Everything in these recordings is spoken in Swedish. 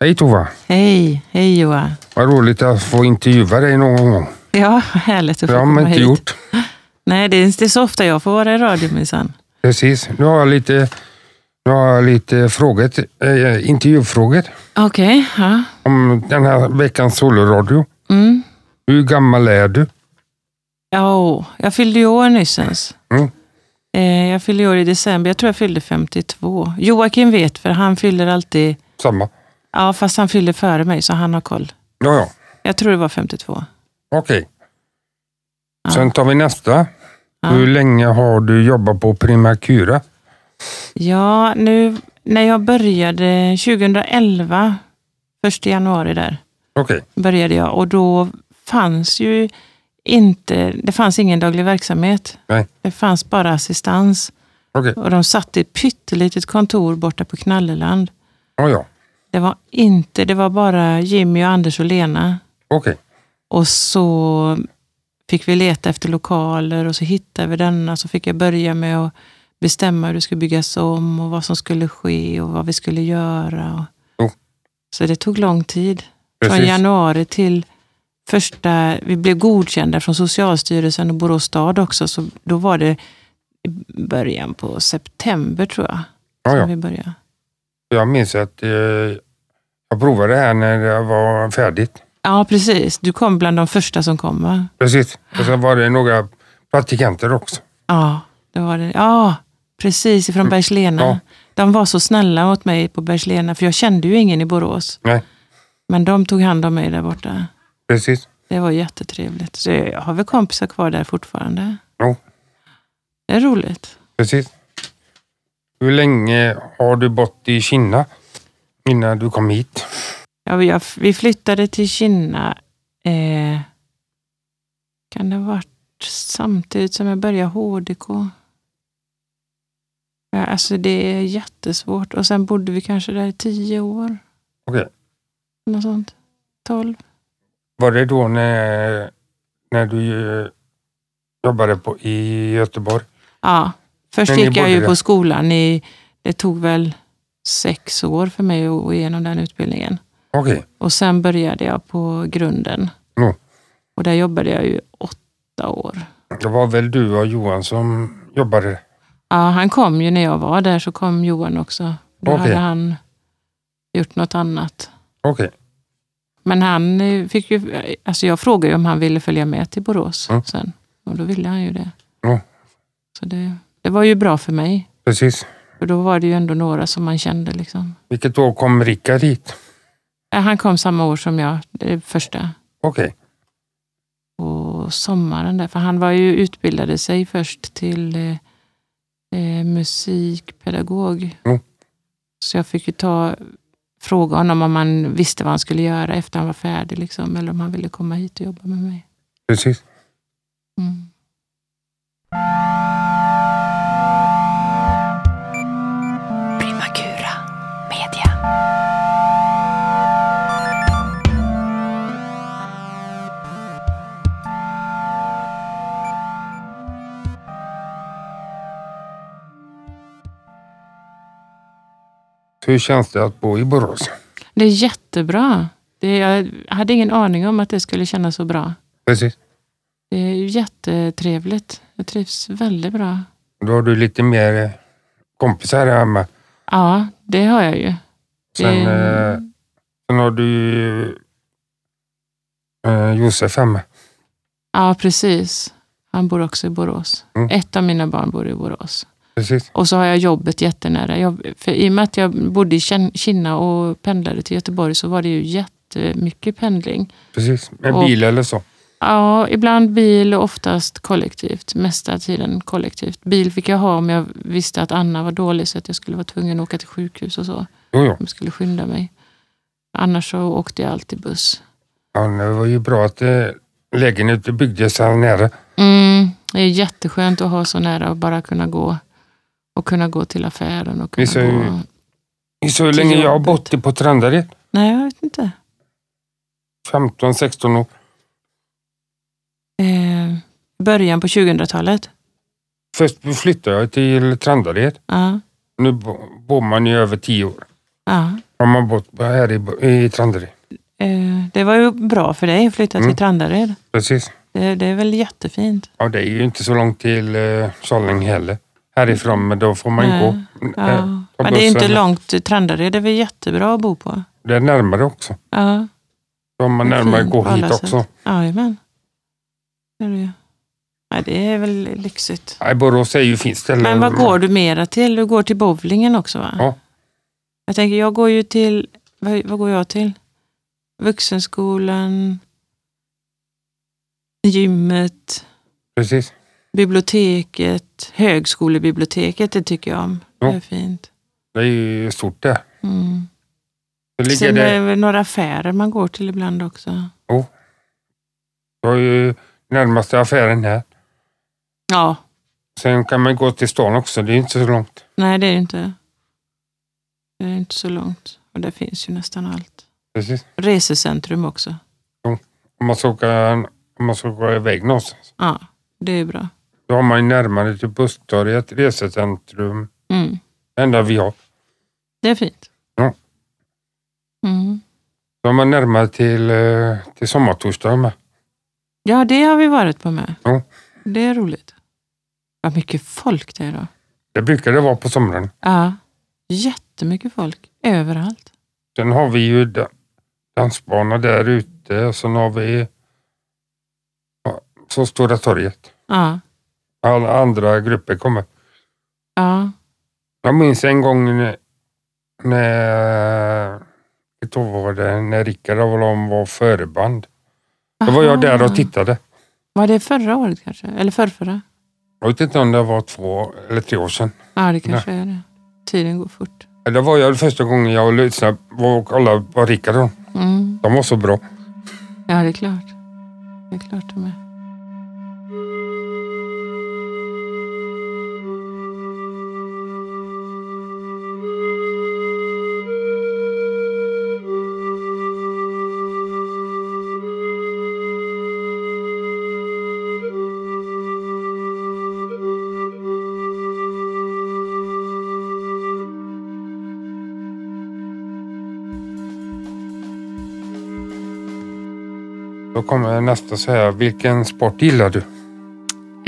Hej Tova! Hej, hej Joa. Vad roligt att få intervjua dig någon gång. Ja, härligt att Det få har man komma inte hit. gjort. Nej, det är inte så ofta jag får vara i radio minsann. Precis. Nu har jag lite, nu har jag lite frågor, till- eh, intervjufrågor Okej, ja. om den här veckans soloradio. Mm. Hur gammal är du? Ja, åh, jag fyllde ju år nyss ens. Mm. Eh, jag fyllde ju år i december. Jag tror jag fyllde 52. Joakim vet, för han fyller alltid... Samma? Ja, fast han fyllde före mig, så han har koll. Ja, ja. Jag tror det var 52. Okej. Ja. Sen tar vi nästa. Ja. Hur länge har du jobbat på Primacura? Ja, nu när jag började 2011, 1 januari där, Okej. började jag och då fanns ju inte, det fanns ingen daglig verksamhet. Nej. Det fanns bara assistans Okej. och de satt i ett pyttelitet kontor borta på Knalleland. Ja, ja. Det var inte, det var bara Jimmy, och Anders och Lena. Okej. Och så fick vi leta efter lokaler och så hittade vi denna. Så fick jag börja med att bestämma hur det skulle byggas om och vad som skulle ske och vad vi skulle göra. och- Jo. Så det tog lång tid. Från Oh. Precis. januari till första... Vi blev godkända från Socialstyrelsen och Borås stad också. Så då var det i början på september tror jag. Ja, som ja. Vi började. Jag minns att eh, jag provade det här när det var färdigt. Ja, precis. Du kom bland de första som kom va? Precis. Och sen var det några praktikanter också. Ja, det var det. Ja, precis. Från Bergslena. Ja. De var så snälla mot mig på Bergslena, för jag kände ju ingen i Borås. Nej, Men de tog hand om mig där borta. precis. Det var jättetrevligt. Så jag har väl kompisar kvar där fortfarande. Jo, Det är roligt. precis. Hur länge har du bott i Kina innan du kom hit? Ja, vi, har- vi flyttade till Kina. Eh, kan det ha varit samtidigt som jag började HDK? Ja, alltså det är jättesvårt. Och sen bodde vi kanske där i tio år. Okej. Något sånt. Tolv. Var det då när, när du eh, jobbade på, i Göteborg? Ja, först Men ni gick jag bodde ju där? på skolan. I, det tog väl sex år för mig att gå igenom den utbildningen. Okej, Och sen började jag på grunden. Ja. Och där jobbade jag ju åtta år. det var väl du och Johan som jobbade? Ja, han kom ju när jag var där, så kom Johan också. Då Okej. hade han gjort något annat. Okej, Men han eh, fick ju, alltså jag frågade ju om han ville följa med till Borås Mm. sen. Och då ville han ju det. Ja. Så det, det var ju bra för mig. precis. För då var det ju ändå några som man kände liksom. Vilket år kom Rickard hit? Ja, Han kom samma år som jag, det första. Okej, På sommaren där. För han var ju utbildade sig först till eh, eh, musikpedagog. Mm. Så jag fick ju ta, fråga honom om han visste vad han skulle göra efter han var färdig. Liksom, eller om han ville komma hit och jobba med mig. precis. Mm. Primakura Media. Hur känns det att bo i Borås? Det är jättebra. Det, jag hade ingen aning om att det skulle kännas så bra. Precis. Det är jättetrevligt. Jag trivs väldigt bra. Då har du lite mer eh, kompisar här hemma. Ja, det har jag ju. Sen, Det- eh, sen har du eh, Josef hemma. Ja, precis. Han bor också i Borås. Mm. Ett av mina barn bor i Borås. Precis. Och så har jag jobbet jättenära. Jag, för I och med att jag bodde i Kin- Kina och pendlade till Göteborg så var det ju jättemycket pendling. precis. Med Och- bil eller så. Ja, ibland bil och oftast kollektivt. Mesta tiden kollektivt. Bil fick jag ha om jag visste att Anna var dålig så att jag skulle vara tvungen att åka till sjukhus och så. Om Jo, jo. jag skulle skynda mig. Annars så åkte jag alltid buss. Ja, det var ju bra att eh, lägenheten byggdes här nära. Mm, det är jätteskönt att ha så nära och bara kunna gå. Och kunna gå till affären. Och kunna Visst är det ju- gå. Så länge jag har jobbet. bott i- på Trandared, Nej, jag vet inte. 15-16 år. Eh, början på 2000-talet. Först flyttade jag till Trandared. Ja, Nu bo- bor man ju över 10 år. ja. De har bott här i, i Trandery. Eh, Det var ju bra för dig att flytta Mm. till Trandared. Precis. Det, det är väl jättefint? Ja, det är ju inte så långt till eh, Solling heller. Härifrån, men då får man ju Nej. gå. Ja. Eh, ta Men det är inte bussen. långt. till Trandared det är väl jättebra att bo på? Det är närmare också. Ja, Då har man Det är närmare fint gå på hit alla också. jajamän. Det är det ju. Nej, det är väl lyxigt. Nej, Borås är ju fint ställe. Men vad går du mera till? Du går till bowlingen också va? Ja. Jag tänker, jag går ju till, vad, vad går jag till? Vuxenskolan, gymmet, Precis. biblioteket, högskolebiblioteket, det tycker jag om. Ja. Det är fint. Det är ju stort där. Mm. Så ligger Sen det... är det väl några affärer man går till ibland också. Jag har ju närmaste affären här. Ja, Sen kan man gå till stan också, det är inte så långt. nej det är det inte. Det är inte så långt. Och det finns ju nästan allt. Precis. Resecentrum också. Om man ska åka, om man ska åka iväg någonstans. Ja, det är bra. Då har man ju närmare till busstorget, resecentrum, Mm. det enda vi har. Det är fint. Ja. Mm. Då har man närmare till, eh, till sommartorsdag med. Ja, det har vi varit på med. Ja. Det är roligt. Vad mycket folk det är då. Det brukar det vara på somrarna. Ja, jättemycket folk. Överallt. Sen har vi ju da- dansbana där ute och sen har vi ja, så Stora torget. Ja, Alla andra grupper kommer. ja, Jag minns en gång när, när, ett år var det, när Rickard och de var förband. Då var jag där Aha. och tittade. Var det förra året kanske? Eller förrförra? Jag vet inte om det var två eller tre år sedan. Ja, det kanske är det. Tiden går fort. Det var jag första gången jag lyssnade på och kollade på Rickard och dem. Mm. De var så bra. Ja, det är klart. Det är klart de är. Då kommer nästa så här. Vilken sport gillar du?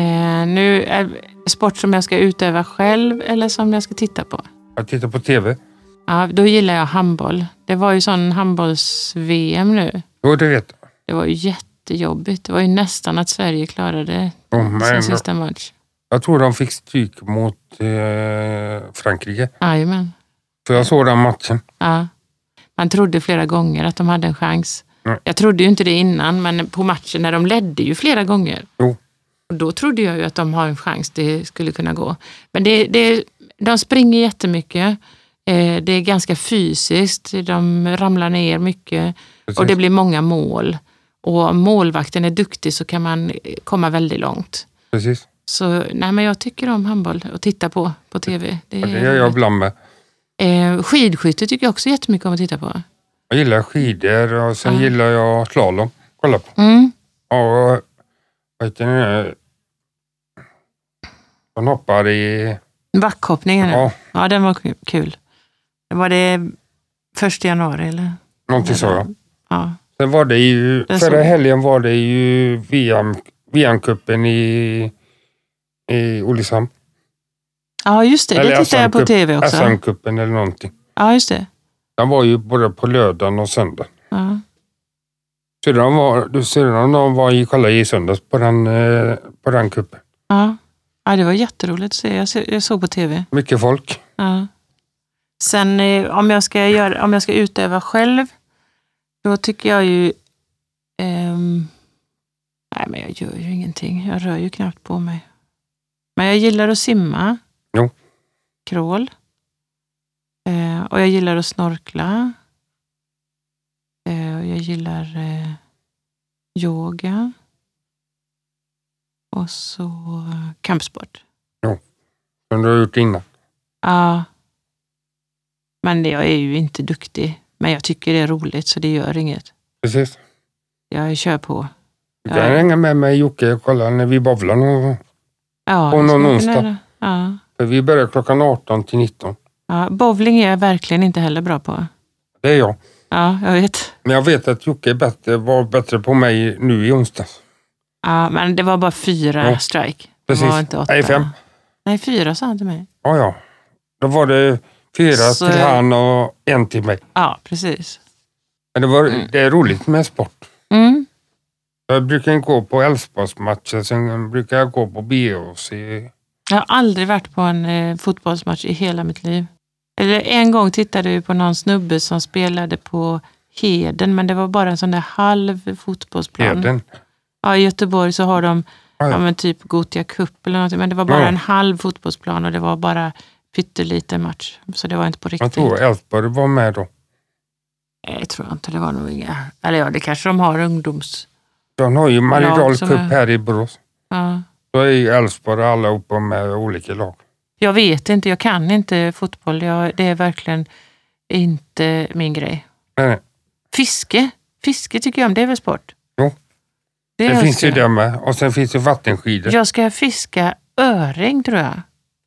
Eh, nu är sport som jag ska utöva själv eller som jag ska titta på. Jag tittar på TV. Ja, då gillar jag handboll. Det var ju sån handbolls-VM nu. Jo, det vet jag. Det var ju jättejobbigt. Det var ju nästan att Sverige klarade Jo, men sin sista match. jag tror de fick stryk mot eh, Frankrike. Jajamän. För jag såg den matchen. Ja. Man trodde flera gånger att de hade en chans. Mm. Jag trodde ju inte det innan, men på matchen när de ledde ju flera gånger. Jo. Och då trodde jag ju att de har en chans, det skulle kunna gå. Men det, det, de springer jättemycket. Eh, Det är ganska fysiskt. De ramlar ner mycket Precis. och det blir många mål. Och om målvakten är duktig så kan man eh, komma väldigt långt. Precis. Så nej, men jag tycker om handboll och titta på på TV. Det Och det gör jag ibland med. Eh, Skidskytte tycker jag också jättemycket om att titta på. Jag gillar skidor och sen Ja. gillar jag slalom. Kolla på. Mm. Och vad heter det? De hoppar i... Backhoppningen, ja. Ja, ja den var ku- kul. Var det första januari eller? någonting så. ja. Ja. Sen var det ju... Den Förra såg- helgen var det ju VM, VM-cupen i, i Olishamn. ja, just det. Eller Det tittar jag på SM-cup. TV också. SM-cupen eller någonting. Ja, just det. Den var ju både på lördagen och söndagen. Ja. Syrran var, du, syrran de var ju kolla i söndags på den, eh, på den cupen. Ja. ja, det var jätteroligt att se. Jag, se- jag såg på TV. Mycket folk. Ja. Sen eh, om jag, ska göra, om jag ska utöva själv, då tycker jag ju... ehm, nej, men jag gör ju ingenting. Jag rör ju knappt på mig. Men jag gillar att simma. Jo. Crawl. Eh, och jag gillar att snorkla. Eh, och jag gillar eh, yoga. Och så eh, kampsport. Som du har gjort innan. Ja. Men jag är ju inte duktig. Men jag tycker det är roligt så det gör inget. Precis. Jag kör på. Du kan Ja. hänga med mig Jocke och kolla när vi bowlar någon gång. Ja, Och det någon skulle jag onsdag. kunna- Ja. För vi börjar klockan 18 till 19. Ja, bowling är jag verkligen inte heller bra på. Det är jag. Ja, jag vet. Men jag vet att Jocke är bättre, var bättre på mig nu i onsdags. Ja, men det var bara fyra Ja, strike. Det precis. var inte åtta. Nej, fem. Nej, fyra sa han till mig. Ja, ja. Då var det fyra Så- till han och en till mig. Ja, precis. Men det, var, Mm. det är roligt med sport. Mm. Jag brukar ju gå på Elfsborgsmatcher, sen brukar jag gå på BOC. Jag har aldrig varit på en eh, fotbollsmatch i hela mitt liv. Eller en gång tittade vi på någon snubbe som spelade på Heden, men det var bara en sån där halv fotbollsplan. Heden. Ja, I Göteborg så har de Ja, ja. ja, men typ Gothia Cup eller någonting, men det var bara Ja. en halv fotbollsplan och det var bara pytteliten match. Så det var inte på Jag riktigt. tror Elfsborg var med då. Nej, jag tror inte. Det var nog inga... Eller ja, det kanske de har ungdoms... De har ju Mariedal Lag som Cup är- här i Borås. Ja. Då är ju Elfsborg allihopa med olika lag. Jag vet inte, jag kan inte fotboll. Jag, det är verkligen inte min grej. Nej, nej. Fiske, fiske tycker jag om, det är väl sport? Jo. Det, önskar finns ju jag. det med. Och sen finns det vattenskidor. Jag ska fiska öring tror jag,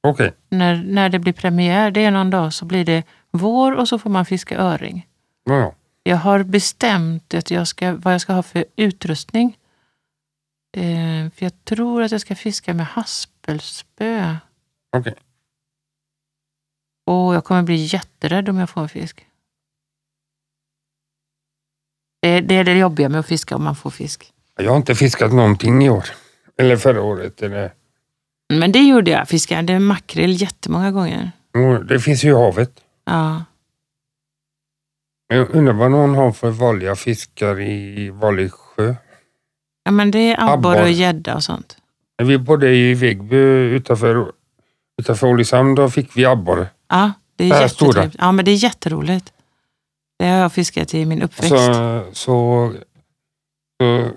Okej. när, när det blir premiär. Det är någon dag så blir det vår och så får man fiska öring. Ja, ja. Jag har bestämt att jag ska, vad jag ska ha för utrustning. Eh, för jag tror att jag ska fiska med haspelspö. Okej. Och jag kommer bli jätterädd om jag får en fisk. Det, det är det jobbiga med att fiska om man får fisk. Jag har inte fiskat någonting i år. Eller förra året. Eller. Men det gjorde jag. Fiskade makrill jättemånga gånger. Jo, Det finns ju i havet. Ja. Men Jag undrar vad någon har för vanliga fiskar i vanlig sjö. ja men det är abborre och Abborre. gädda och sånt. När vi bodde i Vegby utanför, utanför Olisand, då fick vi abborre. Ja, det Det är här stora. jättetrevligt. Ja, men det är jätteroligt. Det har jag fiskat i min uppväxt. Så, så, så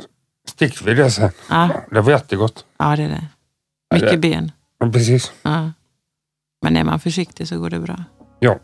stick vi det sen. Ja, Det var jättegott. ja, det är det. Ja, det- Mycket ben. Ja, precis. Ja. Men är man försiktig så går det bra. Ja.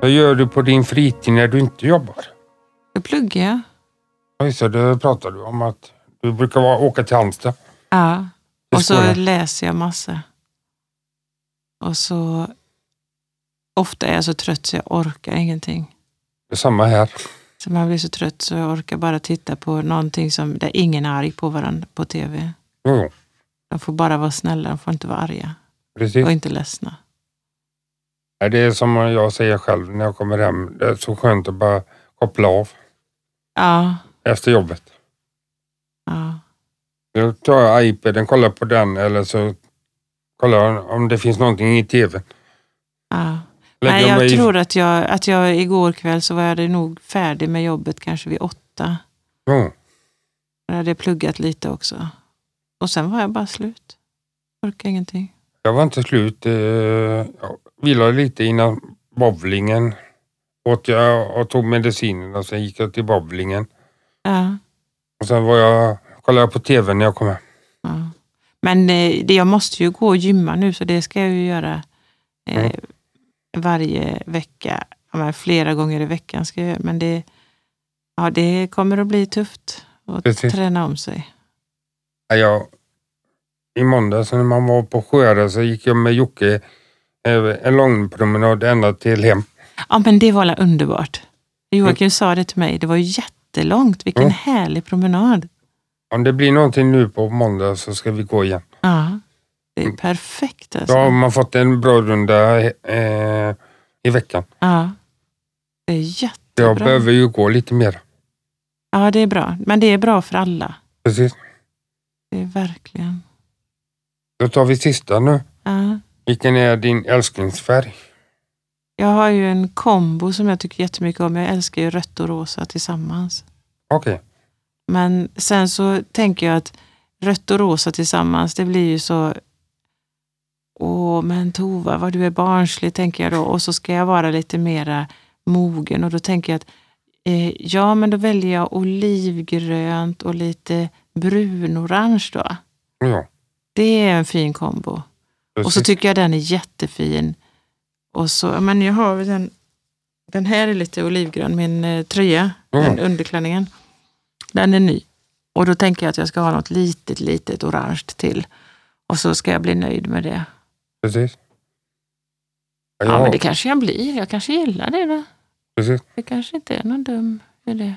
Vad gör du på din fritid när du inte jobbar? Då pluggar jag. Ja, Just det, det pratade du om att du brukar vara, åka till Halmstad. Ja. Det Och så skojar. läser jag massa. Och så... Ofta är jag så trött så jag orkar ingenting. Det är samma här. Så man blir så trött så jag orkar bara titta på någonting som, där ingen är arg på varandra på tv. Jo, jo, De får bara vara snälla, de får inte vara arga precis. och inte ledsna. Ja, Det är som jag säger själv när jag kommer hem. Det är så skönt att bara koppla av Ja, efter jobbet. ja, Då tar jag iPaden, kollar på den eller så kollar jag om det finns någonting i tvn. ja. Lägger Nej, mig jag i- tror att jag, att jag igår kväll så var jag nog färdig med jobbet kanske vid åtta. Jo, Jag hade Eh, pluggat lite också. Och sen var jag bara slut. Orkade ingenting. jag var inte slut. eh, Jag vilade lite innan bowlingen. Åt jag och tog medicinen och sen gick jag till bowlingen. Ja, Och sen var jag, kollade jag på tvn när jag kom hem. ja. Men eh, det, jag måste ju gå och gymma nu, så det ska jag ju göra eh, Mm. varje vecka. Ja, men flera gånger i veckan ska jag göra Men det, ja, det kommer att bli tufft att Precis. träna om sig. Ja, jag, I måndags när man var på Sjöre så gick jag med Jocke eh, en lång promenad ända till hem. Ja, men det var alla underbart. Joakim sa det till mig. Det var jättelångt. Vilken Mm. härlig promenad. Om det blir någonting nu på måndag så ska vi gå igen. Ja, det Mm. är perfekt Då alltså. har man fått en bra runda eh, i veckan. Ja. Det är jättebra. Jag behöver ju gå lite mer. Ja, det är bra. Men det är bra för alla. Precis. Det är verkligen. Då tar vi sista nu. Ja. Vilken är din älsklingsfärg? Jag har ju en kombo som jag tycker jättemycket om. Jag älskar ju rött och rosa tillsammans. Okej. Men sen så tänker jag att rött och rosa tillsammans, det blir ju så... Åh, men Tova, vad du är barnslig, tänker jag då. Och så ska jag vara lite mera mogen och då tänker jag att eh, ja, men då väljer jag olivgrönt och lite brunorange då. Ja, Det är en fin kombo. Och så precis. tycker jag den är jättefin. Och så, ja, men jag har den, den här är lite olivgrön, min eh, tröja, Mm. den underklänningen. Den är ny. Och då tänker jag att jag ska ha något litet, litet orange till. Och så ska jag bli nöjd med det. precis. Ja, Ja, jag, men det kanske jag blir. Jag kanske gillar det då. precis. Det kanske inte är någon dum idé.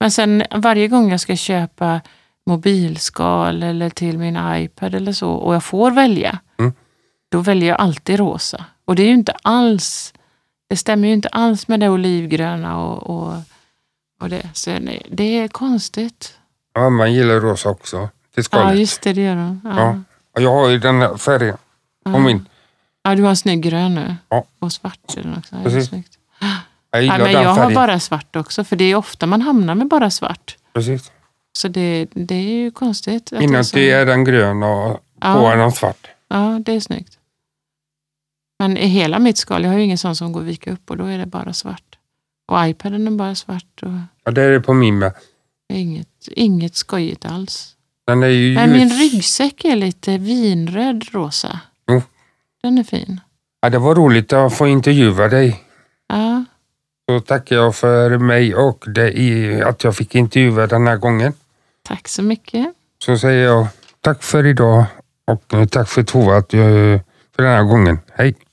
Men sen varje gång jag ska köpa mobilskal eller till min iPad eller så och jag får välja, Mm. då väljer jag alltid rosa. Och det är ju inte alls, det stämmer ju inte alls med det olivgröna och, och, och det. Så nej, det är konstigt. Ja, man gillar rosa också. Till Ja, skalet. just det, det gör de. Ja. Och Jag har ju den här färgen ja. på min. Ja, du har en snygg grön nu. Ja. Och svart är den också. Ja, det är Precis. snyggt. Jag Nej, gillar men den jag har färgen. bara svart också, för det är ofta man hamnar med bara svart. Precis. Så det, det är ju konstigt. att är så. Inuti är den grön och på är ja, den svart. ja, det är snyggt. Men i hela mitt skal, jag har ju ingen sån som går att vika upp och då är det bara svart. Och iPaden är bara svart och Ja, det är det på min med. det är inget, inget skojigt alls. Den är ju ljus. Men min ryggsäck är lite vinröd rosa. Jo. Den är fin. Ja, det var roligt att få intervjua dig. Ja, Så tackar jag för mig och det i att jag fick intervjua den här gången. tack så mycket. Så säger jag tack för idag och eh, tack för Tova att du- för den här gången. Hej!